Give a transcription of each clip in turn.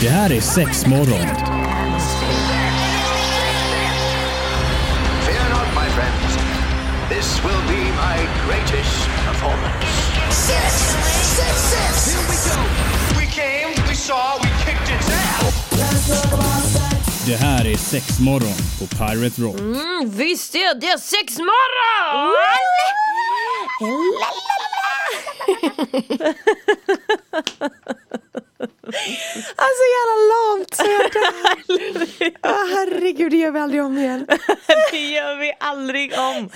Det här är sex morgon. Fear not, my friends. This will be my greatest performance. Six, six, six. We came, we saw, we kicked its ass. Det här är sex morgon på Pirate Rock. Mm, Visst är det sexmorgon! Alltså jävla lamt så jag dör. Ja, herregud, det gör vi aldrig om igen. Det gör vi aldrig om!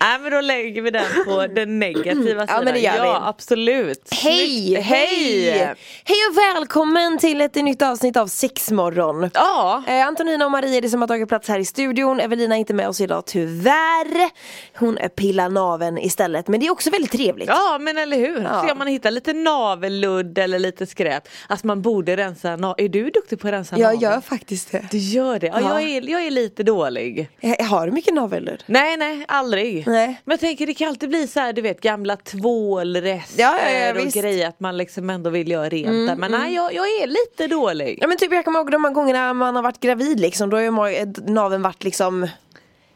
Nej men då lägger vi den på den negativa sidan. men det gör vi. ja absolut. Hej, Snyggt. hej! hej! Hej och välkommen till ett nytt avsnitt av Sexmorgon. Ja, Eh, Antonina och Marie är det som har tagit plats här i studion. Evelina är inte med oss idag tyvärr. Hon eh, pillar naven istället. Men det är också väldigt trevligt. ja men eller hur. Ja. Så om man hittar lite navelludd eller lite skräp. Alltså man borde rensa naveln. Är du duktig på att rensa naveln? faktiskt det. Du gör det? Ja, Ja. Jag, är, jag är lite dålig. Jag Eh, har du mycket navelludd? Nej nej, aldrig. Nej. Men jag tänker det kan alltid bli så här du vet gamla tvålrester Ja, ja, ja, och visst. Mm, grejer att man liksom ändå vill göra rent där. Men nej jag, jag är lite dålig. Ja men typ jag kommer ihåg de här gångerna man har varit gravid liksom, då har ju ma- naveln varit liksom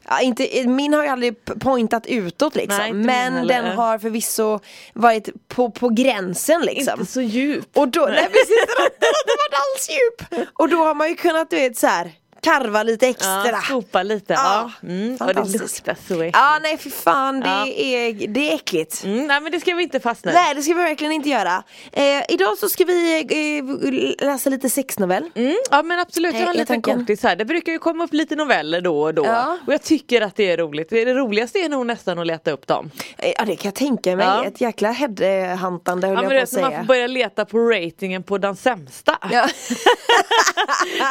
Ja, inte, eh, min har ju aldrig p- pointat utåt liksom, Nej, inte min men heller. den har förvisso varit på, på gränsen liksom Inte så djup. Och då, nej precis, den har den har inte varit alls djup! Och då har man ju kunnat du vet så här karva lite extra Ja, sopa lite. Ja, Ja. Mm, och det fantastiskt. luktar så äckligt. Ja nej för fan det, Ja. är, det är äckligt Mm, nej men det ska vi inte fastna i. Nej det ska vi verkligen inte göra eh, Idag så ska vi eh, läsa lite sexnovell Mm, ja men absolut, jag Nej, har en är liten tanken. kompis här. Det brukar ju komma upp lite noveller då och då. Ja. Och jag tycker att det är roligt. Det roligaste är nog nästan att leta upp dem. Eh, Ja det kan jag tänka mig, Ja. ett jäkla headhuntande höll Ja, men jag du på att vet, när man får säga börja leta på ratingen på den sämsta. Ja.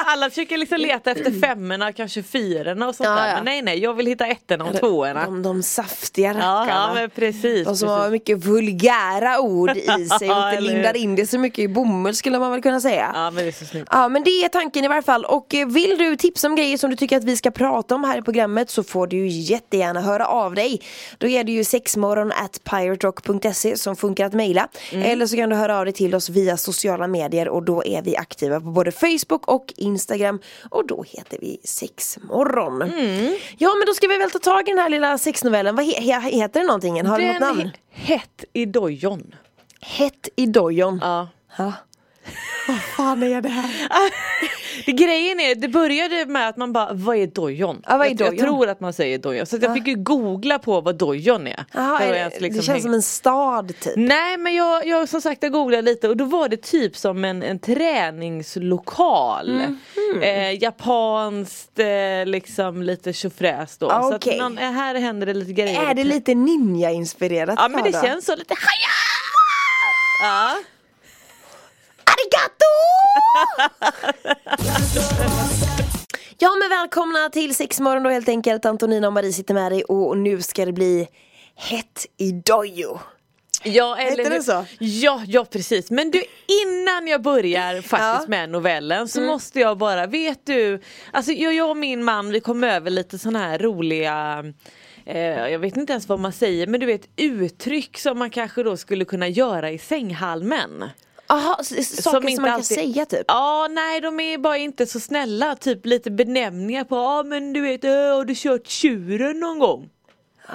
Alla försöker liksom leta efter femmorna, kanske fyrorna och sånt Ja, där. ja. Men nej nej, jag vill hitta ettorna och tvåorna. De, de saftiga Ja, rackarna ja men precis. De som precis. har mycket vulgära ord i sig och Eller inte hur? lindar in det så mycket i bomull skulle man väl kunna säga Ja men det är så snyggt. Ja men det är tanken i varje fall och eh, vill du tipsa om grejer som du tycker att vi ska prata om här i programmet så får du ju jättegärna höra av dig. Då är det ju sexmorgon at piraterock.se som funkar att mejla. Eller så kan du höra av dig till oss via sociala medier och då är vi aktiva på både Facebook och Instagram och då heter vi sexmorgon. Ja men då ska vi väl ta tag i den här lilla sexnovellen. Vad he- he- heter den någonting? Har den något namn? he- Hett i dojon. Hett i dojon. Ja. Ja. Vad fan är det här? Det, grejen är, det började med att man bara, vad är dojon? Ja, vad är jag, dojon? jag tror att man säger dojon, så att jag fick ju googla på vad dojon är. Jaha, För är att det, ens det liksom känns hänga- som en stad typ. Nej men jag, jag som sagt jag googlade lite och då var det typ som en, en träningslokal. Mhm. Eh, japanskt, eh, liksom lite tjofräs då. Ah, så okej. att någon, eh, här händer det lite grejer. Är det lite ninja-inspirerat? ja men det Klara? känns så lite haja! Ja. Arigato! ja men välkomna till sexmorgon då helt enkelt. Antonina och Marie sitter med dig och nu ska det bli hett i dojo. Ja, eller Heter den hur? så? Ja, ja precis. Men du innan jag börjar faktiskt Ja. Mm. med novellen så måste jag bara, vet du, alltså jag, jag och min man vi kom över lite sådana här roliga eh, jag vet inte ens vad man säger men du vet uttryck som man kanske då skulle kunna göra i sänghalmen. Jaha, s- s- saker som, inte man alltid- kan säga typ? Ja, nej de är bara inte så snälla. Typ lite benämningar på, ja men du vet, "Ö, har du kört tjuren någon gång?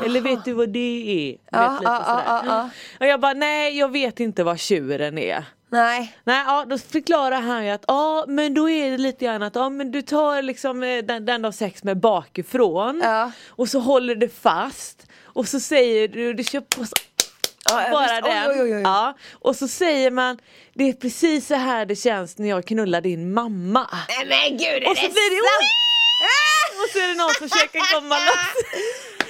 Eller vet du vad det är? Ja, vet, lite ja, ja, sådär. ja, ja. Och jag bara, nej jag vet inte vad tjuren är. Nej. Nej, ja, då förklarar han ju att ja men då är det lite grann att ja men du tar liksom eh, den, den du har sex med bakifrån Ja. och så håller du fast och så säger du, du kör på så, Ja, ja, bara visst. Oj, den. oj, oj, oj. Ja, och så säger man det är precis så här det känns när jag knullar din mamma. Nej men gud och så blir det Ah! Oi! Och så är det någon som försöker komma loss.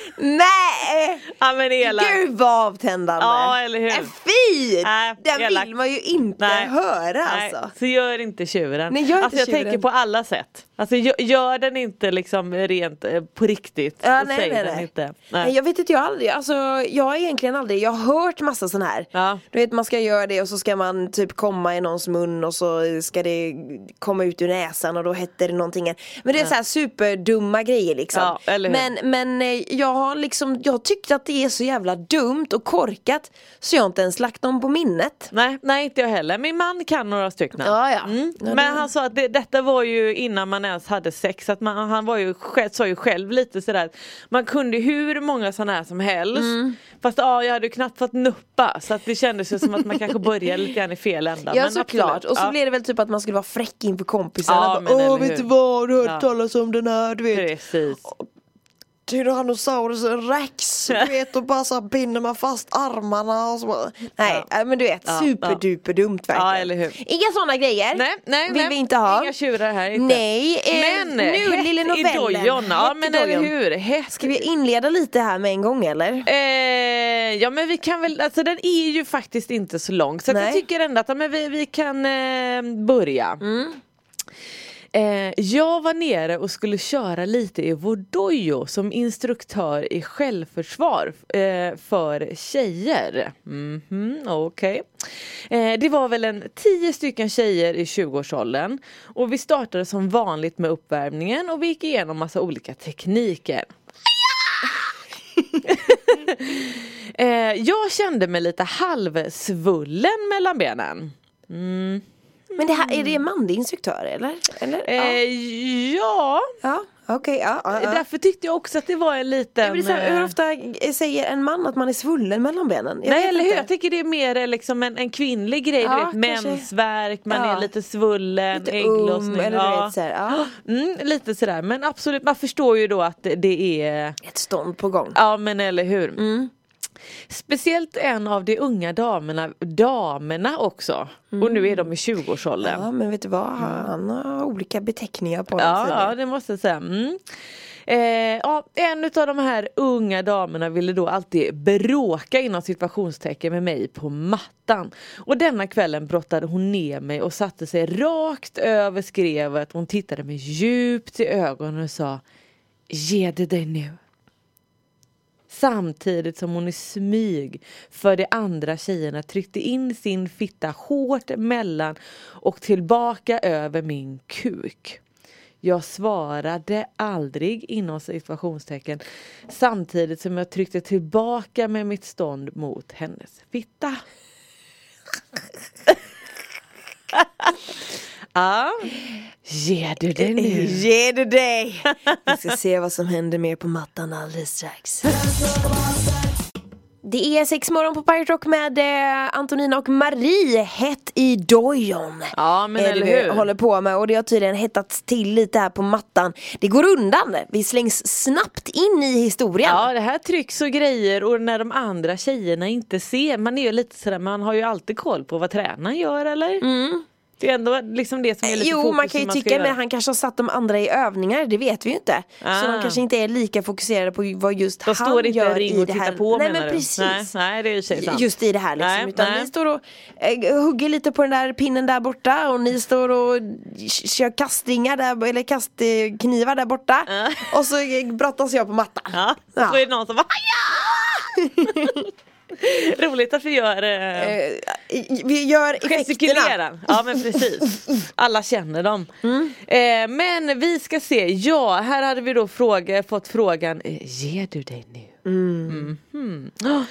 Nej! Ja men elak. Gud vad avtändande! Ja, eller hur? Äh, Fy! Nej, Den elak. vill man ju inte höra alltså. Nej, så gör inte tjuren. Nej, gör inte alltså, jag tjuren. tänker på alla sätt. Alltså, gör, gör den inte liksom rent eh, på riktigt. Ja, så nej, säg nej, den nej. inte. Nej, jag vet inte, jag har aldrig, alltså jag har egentligen aldrig, jag har hört massa sån här Ja. Du vet man ska göra det och så ska man typ komma i någons mun och så ska det komma ut ur näsan och då heter det någonting Men det är så här superdumma grejer liksom Ja, eller hur? Men, men eh, jag har liksom, jag tyckte att det är så jävla dumt och korkat så jag har inte ens lagt dem på minnet. Nej, nej inte jag heller. Min man kan några stycken. Ja, ja. Mm. Ja, det- Men han sa att det, detta var ju innan man ens hade sex. Att man, han var ju, själv, sa ju själv lite sådär att man kunde hur många sådana här som helst. Mm. Fast ja, jag hade ju knappt fått nuppa så att det kändes ju som att man kanske började lite grann i fel ända. Ja Men såklart, absolut. och så Ja. blir det väl typ att man skulle vara fräck inför kompisarna Ja, bara, men Åh eller vet du hur?" vad, du har hört Ja. talas om den här du vet Precis. Tyrannosaurusen rex, du vet och bara så här binder man fast armarna och så bara. Nej Ja. äh, men du vet, Ja, superduperdumt verkligen Ja, eller hur. Inga sådana grejer Nej, nej, vill nej. vi inte ha Inga tjurar här inte. Nej, eh, Men nu hett lille novellen i dojan. Ja Hett i men eller dojan. hur. Hett. Ska vi inleda lite här med en gång eller? Eh, ja men vi kan väl, alltså den är ju faktiskt inte så lång så att Nej. jag tycker ändå att ja, men vi, vi kan eh, börja. Eh, jag var nere och skulle köra lite i Vodojo som instruktör i självförsvar eh, för tjejer. Mhm, okej. eh, det var väl en tio stycken tjejer i 20-årsåldern och vi startade som vanligt med uppvärmningen och vi gick igenom massa olika tekniker. Eh, jag kände mig lite halvsvullen mellan benen. Men det här, är det en manlig instruktör eller? eller? Mm. Eh, ja, ja, ja. Uh-uh. okej ja, ja, ja. därför tyckte jag också att det var en liten... Jag blir så här, eh, hur ofta säger en man att man är svullen mellan benen? Jag Nej vet eller hur, inte. jag tycker det är mer eh, liksom en, en kvinnlig grej, Ja, du vet kanske. mensvärk, man Ja. är lite svullen, Lite ägglossning. um, eller du vet, så här, ja. Mm, lite sådär men absolut man förstår ju då att det- det är Ett stånd på gång. Ja men eller hur. Mm. Speciellt en av de unga damerna, damerna också. Och nu är de i 20-årsåldern. Ja men vet du vad, han har olika beteckningar på Ja, honom ja det måste jag säga. Mm. Eh, ja, en av de här unga damerna ville då alltid bråka inom situationstecken med mig på mattan. Och denna kvällen brottade hon ner mig och satte sig rakt över skrevet. Hon tittade mig djupt i ögonen och sa Ge det dig nu. Samtidigt som hon i smyg för de andra tjejerna tryckte in sin fitta hårt mellan och tillbaka över min kuk. Jag svarade aldrig inom situationstecken samtidigt som jag tryckte tillbaka med mitt stånd mot hennes fitta. ah. Ger du det nu? Ge det dig! Vi ska se vad som händer mer på mattan alldeles strax. Det är sex morgon på Pirate Rock med eh, Antonina och Marie, hett i dojon. Ja, men Är det eller vi hur? håller på med och det har tydligen hettats till lite här på mattan. Det går undan, vi slängs snabbt in i historien. Ja det här trycks och grejer och när de andra tjejerna inte ser, man är ju lite sådär, man har ju alltid koll på vad tränaren gör eller? Det är ändå liksom det som är lite Mm. Jo fokus man kan ju som ska tycka göra. men han kanske har satt de andra i övningar, det vet vi ju inte. Så Ah. de kanske inte är lika fokuserade på vad just De han står inte i gör ring i och det tittar här. på nej menar men du? precis. Nej, nej det är ju i och för sig sant. Just i det här liksom. Nej, Utan nej. ni står och eh, hugger lite på den där pinnen där borta och ni står och k- kör kastringar där, eller kastknivar där borta. Ja. Och så eh, brottas jag på mattan. Ja, Ja. så är det någon som bara "Aja!" Roligt att vi gör eh, Eh, i- Vi gör effekterna. Gestikulera. Ja men precis. Alla känner dem. Mm. Eh, men vi ska se, ja här hade vi då fråga, fått frågan, eh, ger du dig nu? Mm. Mhm. Ah,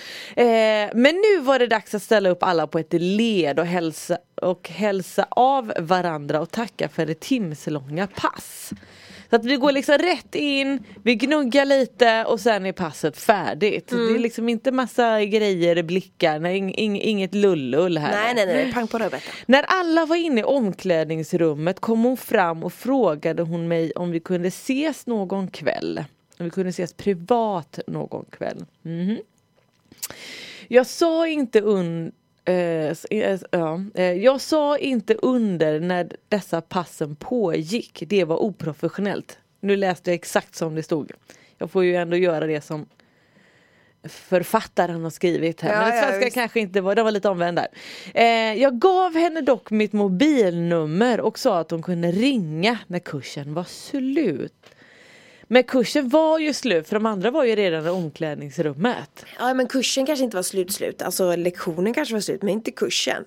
Eh, men nu var det dags att ställa upp alla på ett led och hälsa, och hälsa av varandra och tacka för det timslånga pass. Så att vi går liksom rätt in, vi gnuggar lite och sen är passet färdigt. Mm. Det är liksom inte massa grejer, blickar, nej, ing, ing, inget lullull här. Nej nej nej, pang på rödbetan. När alla var inne i omklädningsrummet kom hon fram och frågade hon mig om vi kunde ses någon kväll. Om vi kunde ses privat någon kväll. Mhm. Jag sa inte un... eh, s- eh, ja, eh, jag sa inte under när dessa passen pågick. Det var oprofessionellt. Nu läste jag exakt som det stod. Jag får ju ändå göra det som författaren har skrivit här. Ja, Men ja, det svenska visst. kanske inte var, den var lite omvänd där. Eh, jag gav henne dock mitt mobilnummer och sa att hon kunde ringa när kursen var slut. Men kursen var ju slut för de andra var ju redan i omklädningsrummet. Ja men kursen kanske inte var slut slut, alltså lektionen kanske var slut men inte kursen.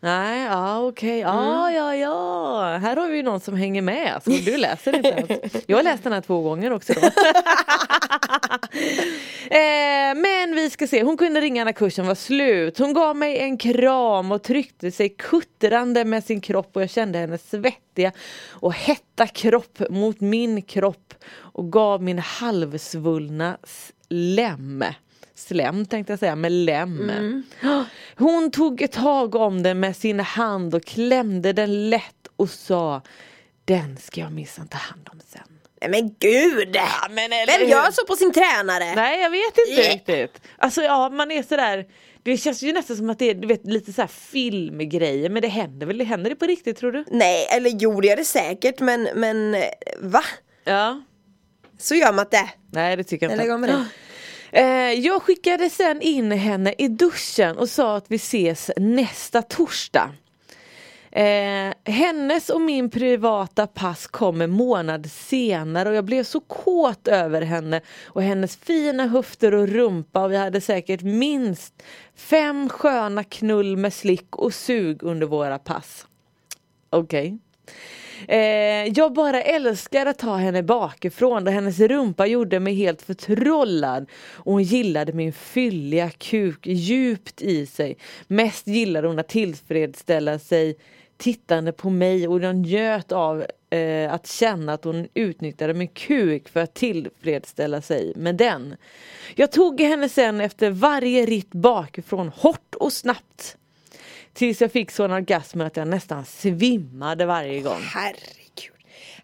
Nej, ja okej. Ja, ja, ja. Här har vi ju någon som hänger med. Så du läser inte ens. Jag har läst den här två gånger också då. eh, men vi ska se. Hon kunde ringa när kursen var slut. Hon gav mig en kram och tryckte sig kuttrande med sin kropp och jag kände hennes svettiga och hetta kropp mot min kropp och gav min halvsvullna slem. Slem tänkte jag säga, men lem. Hon tog tag om den med sin hand och klämde den lätt och sa Den ska jag minsann ta hand om sen. Nej men gud! men Vem gör så på sin tränare? Nej jag vet inte Yeah. riktigt. Alltså ja man är sådär Det känns ju nästan som att det är du vet, lite såhär filmgrejer men det händer väl, händer det på riktigt tror du? Nej, eller jo det gör det säkert men, men eh, va? Ja. Så gör man inte. Nej det tycker jag Nej, inte. lägg av med det. Eh, Jag skickade sen in henne i duschen och sa att vi ses nästa torsdag. Eh, hennes och min privata pass kom en månad senare och jag blev så kåt över henne och hennes fina höfter och rumpa och vi hade säkert minst fem sköna knull med slick och sug under våra pass. Okej. Eh, jag bara älskar att ta henne bakifrån där hennes rumpa gjorde mig helt förtrollad och hon gillade min fylliga kuk djupt i sig. Mest gillade hon att tillfredsställa sig tittande på mig och hon njöt av eh, att känna att hon utnyttjade min kuk för att tillfredsställa sig med den. Jag tog henne sen efter varje ritt bakifrån hårt och snabbt tills jag fick sån orgasm att jag nästan svimmade varje gång. Herregud.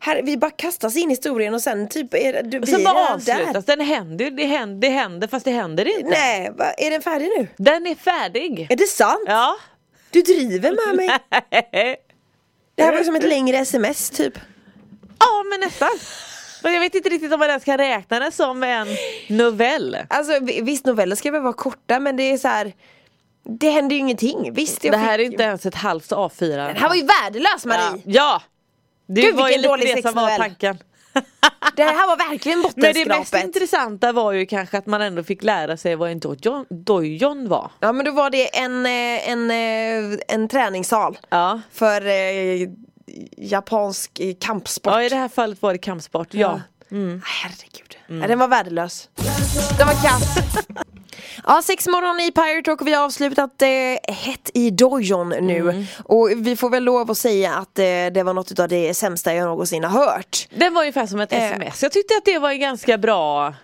Herre, vi bara kastas in i historien och sen typ är det- du Och sen blir bara redan avslutas där. den. Händer, det, händer, det händer fast det händer inte. Nej, va, är den färdig nu? Den är färdig. Är det sant? Ja. Du driver med mig. Det här var som ett längre sms typ. ja men nästan. Men jag vet inte riktigt om man ens kan räkna den som en novell. Alltså vi- visst noveller ska väl vara korta men det är så här. Det händer ju ingenting. Visst jag Det här är fick... inte ens ett halvt A4. Det här var ju värdelös Marie! Ja! Det Gud, var ju vilken lite dålig det som var sexnovell. tanken. Det här var verkligen Men det mest bottenskrapet. intressanta var ju kanske att man ändå fick lära sig vad en dojon, dojon var. Ja men då var det en, eh, en, eh, en träningssal Ja. för eh, japansk eh, kampsport. Ah, ja, i det här fallet var det kampsport. Ja. Mm. Herregud. Ja, den var värdelös. Den var kass. Ja, sex morgon i Pirate Rock och vi har avslutat eh, Hett i dojon nu. Mm. Och vi får väl lov att säga att eh, det var något av det sämsta jag någonsin har hört. Den var ungefär som ett Eh. sms. Jag tyckte att det var en ganska bra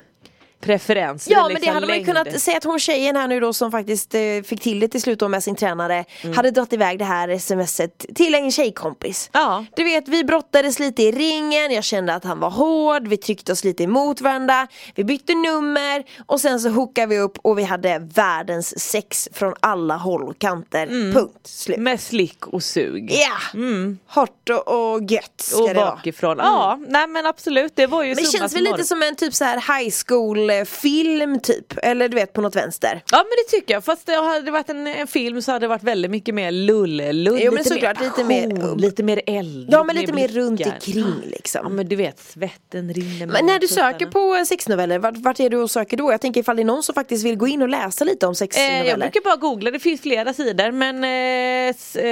preferens. Ja eller men det liksom hade man ju längd. kunnat säga att hon tjejen här nu då som faktiskt eh, fick till det till slut då med sin tränare Mm. Hade dragit iväg det här smset till en tjejkompis Ja. Du vet vi brottades lite i ringen, jag kände att han var hård, vi tryckte oss lite emot varandra Vi bytte nummer och sen så hookade vi upp och vi hade världens sex från alla håll och kanter, Mm. punkt slut Med slick och sug. Ja! Hårt och, och gött ska Mm. Och det vara Mm. bakifrån. Ja, nej men absolut. Det var ju Men det summa känns väl lite summarum. som en typ så här high school eh, film typ, eller du vet på något vänster Ja men det tycker jag. Fast det hade det varit en, en film så hade det varit väldigt mycket mer lull-lull. Jo, men såklart, lite mer upp. lite mer eld. Ja men lite mer runt blickar. omkring Ja liksom. men du vet svetten rinner Men mellan när du tuttarna. söker på eh, sexnoveller, vart, vart är du och söker då? Jag tänker ifall det är någon som faktiskt vill gå in och läsa lite om Eh, jag sexnoveller. brukar bara googla, det finns flera sidor men eh, s- eh,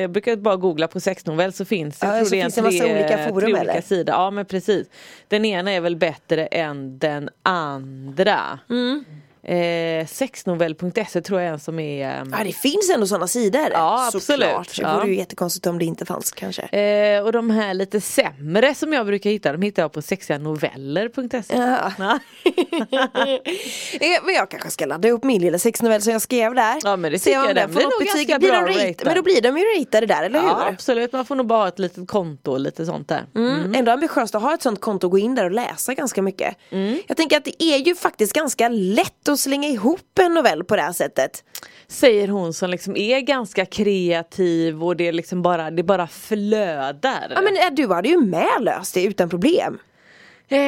jag brukar bara googla på sexnovell så finns det, Ja, så är finns det en massa olika forum, tre olika eller? sidor. Ja men precis. Den ena är väl bättre än den andra. Mm. Eh, sexnovell.se tror jag är en som är ehm, Ja det finns ändå sådana sidor. Ja, absolut. Såklart. Det Ja. vore ju jättekonstigt om det inte fanns kanske. Eh, och de här lite sämre som jag brukar hitta, de hittar jag på sexiganoveller.se Ja. Ja. Eh, Men jag kanske ska ladda upp min lilla sexnovell som jag skrev där. Ja, men det Se tycker om jag. Den får blir något nog betyg. ganska Blir de bra rate- ratad. Men då blir de ju ratade där, eller hur? Ja, absolut, man får nog bara ha ett litet konto och lite sånt där. Mm. Ändå ambitiöst att ha ett sånt konto och gå in där och läsa ganska mycket. Mm. Jag tänker att det är ju faktiskt ganska lätt att slänga ihop en novell på det här sättet. Säger hon som liksom är ganska kreativ och det är liksom bara, det bara flödar. Ja men eh, du hade ju med löst det utan problem. Eh,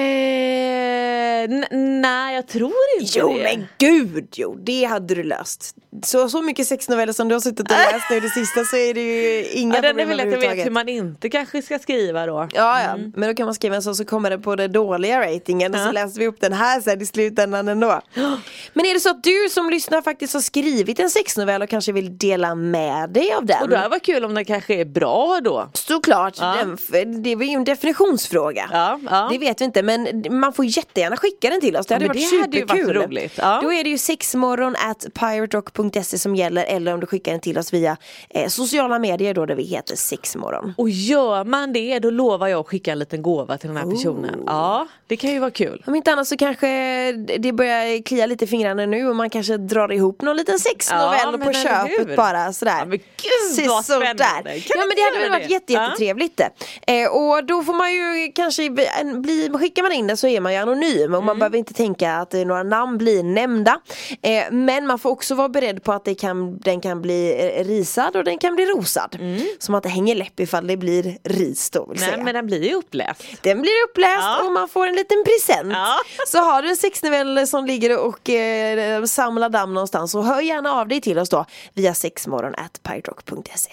n- nej, jag tror inte Jo det. men gud jo, det hade du löst. Så, så mycket sexnoveller som du har suttit och läst nu det sista så är det ju inga ja, den är problem väl att jag vet överhuvudtaget. hur man inte kanske ska skriva då. Ja, ja. men då kan man skriva en sån så kommer den på den dåliga ratingen och så Ja. läser vi upp den här sen i slutändan ändå. Men är det så att du som lyssnar faktiskt har skrivit en sexnovell och kanske vill dela med dig av den? Och det här var kul om den kanske är bra då. Såklart, Ja. den, för det är ju en definitionsfråga. Ja, ja. Det vet vi inte men man får jättegärna skicka den till oss. Det hade men varit det hade ju superkul. varit roligt, ja. Då är det ju sexmorgon at piraterock.se som gäller eller om du skickar den till oss via eh, sociala medier då där vi heter sexmorgon. Och gör man det då lovar jag att skicka en liten gåva till den Oh. här personen. Ja, det kan ju vara kul. Om inte annat så kanske det börjar klia lite i fingrarna nu och man kanske drar ihop någon liten sexnovell Ja, men på eller köpet hur? bara sådär. Ja, men gud, Precis vad sådär. spännande. Kan ja vi men det hade göra väl varit det? jätte, Ja. jättetrevligt. Eh, och då får man ju kanske, bli- en- bli, skickar man in det så är man ju anonym och Mm. man behöver inte tänka att eh, några namn blir nämnda. Eh, men man får också vara beredd på att det kan, den kan bli eh, risad och den kan bli rosad. Så man inte hänger läpp ifall det blir ris då vill säga. Mm. Nej, men den blir ju uppläst. Den blir uppläst Ja. och man får en liten present. Ja. Så har du en sexnovell som ligger och eh, samlar damm någonstans så hör gärna av dig till oss då via sexmorgon.piratrock.se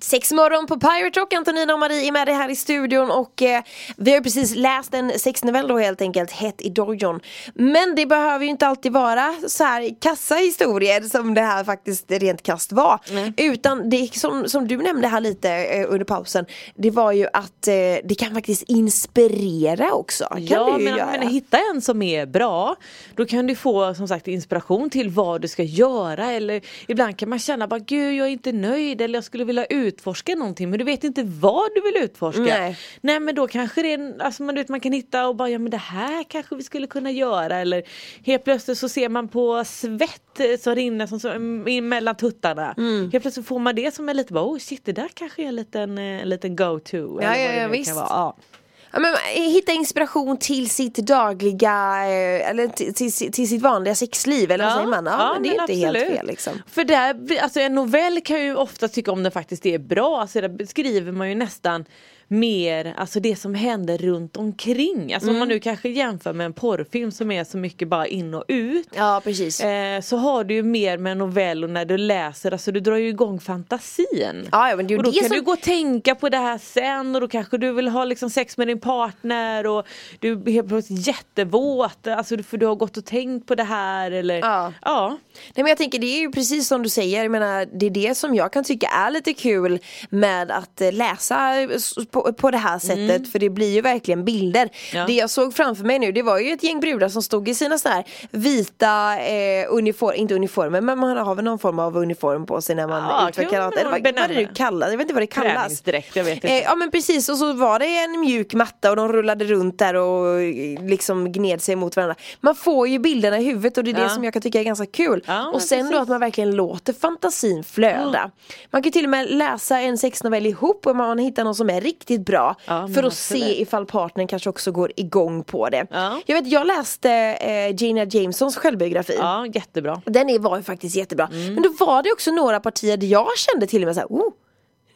Sexmorgon på Pirate Rock, Antonina och Marie är med dig här i studion och eh, vi har ju precis läst en sexnovell då helt enkelt, Hett i dojon. Men det behöver ju inte alltid vara så här kassa historier som det här faktiskt rent kast var. Utan det som, som du nämnde här lite eh, under pausen, det var ju att eh, det kan faktiskt inspirera också. Kan ja, det ju men, göra. men hitta en som är bra. Då kan du få som sagt inspiration till vad du ska göra eller ibland kan man känna bara gud jag är inte nöjd eller jag skulle vilja utforska någonting men du vet inte vad du vill utforska. Nej. Nej men då kanske det är en, alltså, man, du vet, man kan hitta och bara ja men det här kanske vi skulle kunna göra eller helt plötsligt så ser man på svett eh, som rinner som, som, in mellan tuttarna. Mm. Helt plötsligt får man det som är lite bara oh shit det där kanske är en liten, eh, en liten go to. eller vad ja, det nu ja, kan visst. vara. Ja. Ja, men, eh, hitta inspiration till sitt dagliga, eh, eller till, till, till sitt vanliga sexliv eller vad säger man? Ja, men det är men inte helt absolut. fel liksom. För där, alltså en novell kan jag ju ofta tycka om den faktiskt är bra, alltså där beskriver man ju nästan mer alltså det som händer runt omkring. Mm. Alltså om man nu kanske jämför med en porrfilm som är så mycket bara in och ut. Ja precis. Eh, så har du ju mer med en novell och när du läser, alltså du drar ju igång fantasin. Ja, ja, men det är ju och då det kan som- du gå och tänka på det här sen och då kanske du vill ha liksom sex med din partner och du är helt plötsligt jättevåt, alltså du- för du har gått och tänkt på det här eller Ja. ja. Nej men jag tänker det är ju precis som du säger, jag menar, det är det som jag kan tycka är lite kul med att eh, läsa eh, s- på, på det här sättet för det blir ju verkligen bilder. Mm. Ja. Det jag såg framför mig nu det var ju ett gäng brudar som stod i sina så här vita eh, uniformer, inte uniformer men man har väl någon form av uniform på sig när man Ja, utför kan karate. man Eller vad, vad är det nu benämna. kallas? Jag vet inte vad det kallas. Träningsdräkt, jag vet inte. Eh, ja men precis och så var det en mjuk matta och de rullade runt där och eh, liksom gned sig mot varandra. Man får ju bilderna i huvudet och det är det Ja. som jag kan tycka är ganska kul. Ja, och men sen då precis. att man verkligen låter fantasin flöda. Man kan ju till och med läsa en sexnovell ihop och man hittar någon som är riktigt bra. Ja, men för att absolut. se ifall partnern kanske också går igång på det. Ja. Jag vet, jag läste eh, Gina Jamesons självbiografi. Ja, jättebra. Den är, var ju faktiskt jättebra. Mm. Men då var det också några partier där jag kände till och med så här, oh,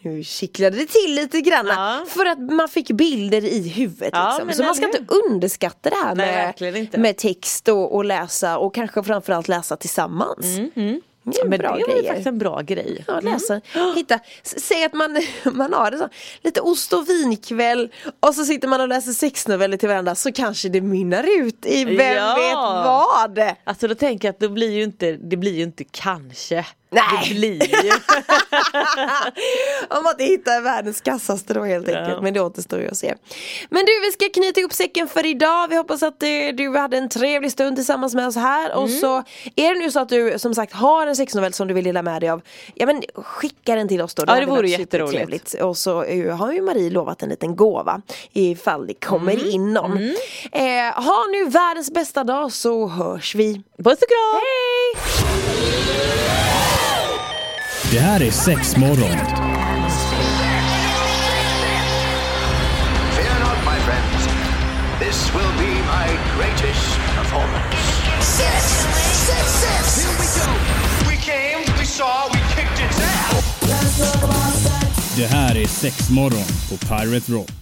nu kittlade det till lite grann. Ja. För att man fick bilder i huvudet. Ja, liksom. men Så man eller ska inte underskatta det här Nej, med, verkligen inte. med text och, och läsa och kanske framförallt läsa tillsammans. Det är Mm, Men bra det var ju grejer. faktiskt Mm. en bra grej. Ja, läsa, hitta, S- säg att man, man har det så, lite ost och vinkväll och så sitter man och läser sexnoveller till varandra så kanske det mynnar ut i vem Ja. vet vad. Alltså då tänker jag att det blir ju inte, det blir ju inte kanske. Nej. Det blir ju. Om att hitta världens kassaste då helt enkelt. Men det återstår ju att se. Men du, vi ska knyta ihop säcken för idag. Vi hoppas att eh, du hade en trevlig stund tillsammans med oss här. Och Mm. så är det nu så att du som sagt har en sexnovell som du vill dela med dig av. Ja men skicka den till oss då. Ja, det hade vore varit jätteroligt. supertrevligt. Och så eh, har ju Marie lovat en liten gåva ifall det kommer Mm. in någon. Eh, ha nu världens bästa dag så hörs vi. Puss och kram! Det här är sex morgon. Fear not, my friends. This will be my greatest performance. Six, six, six. Here we go. We came, we saw, we kicked its ass. Det här är sex morgon på Pirate Rock.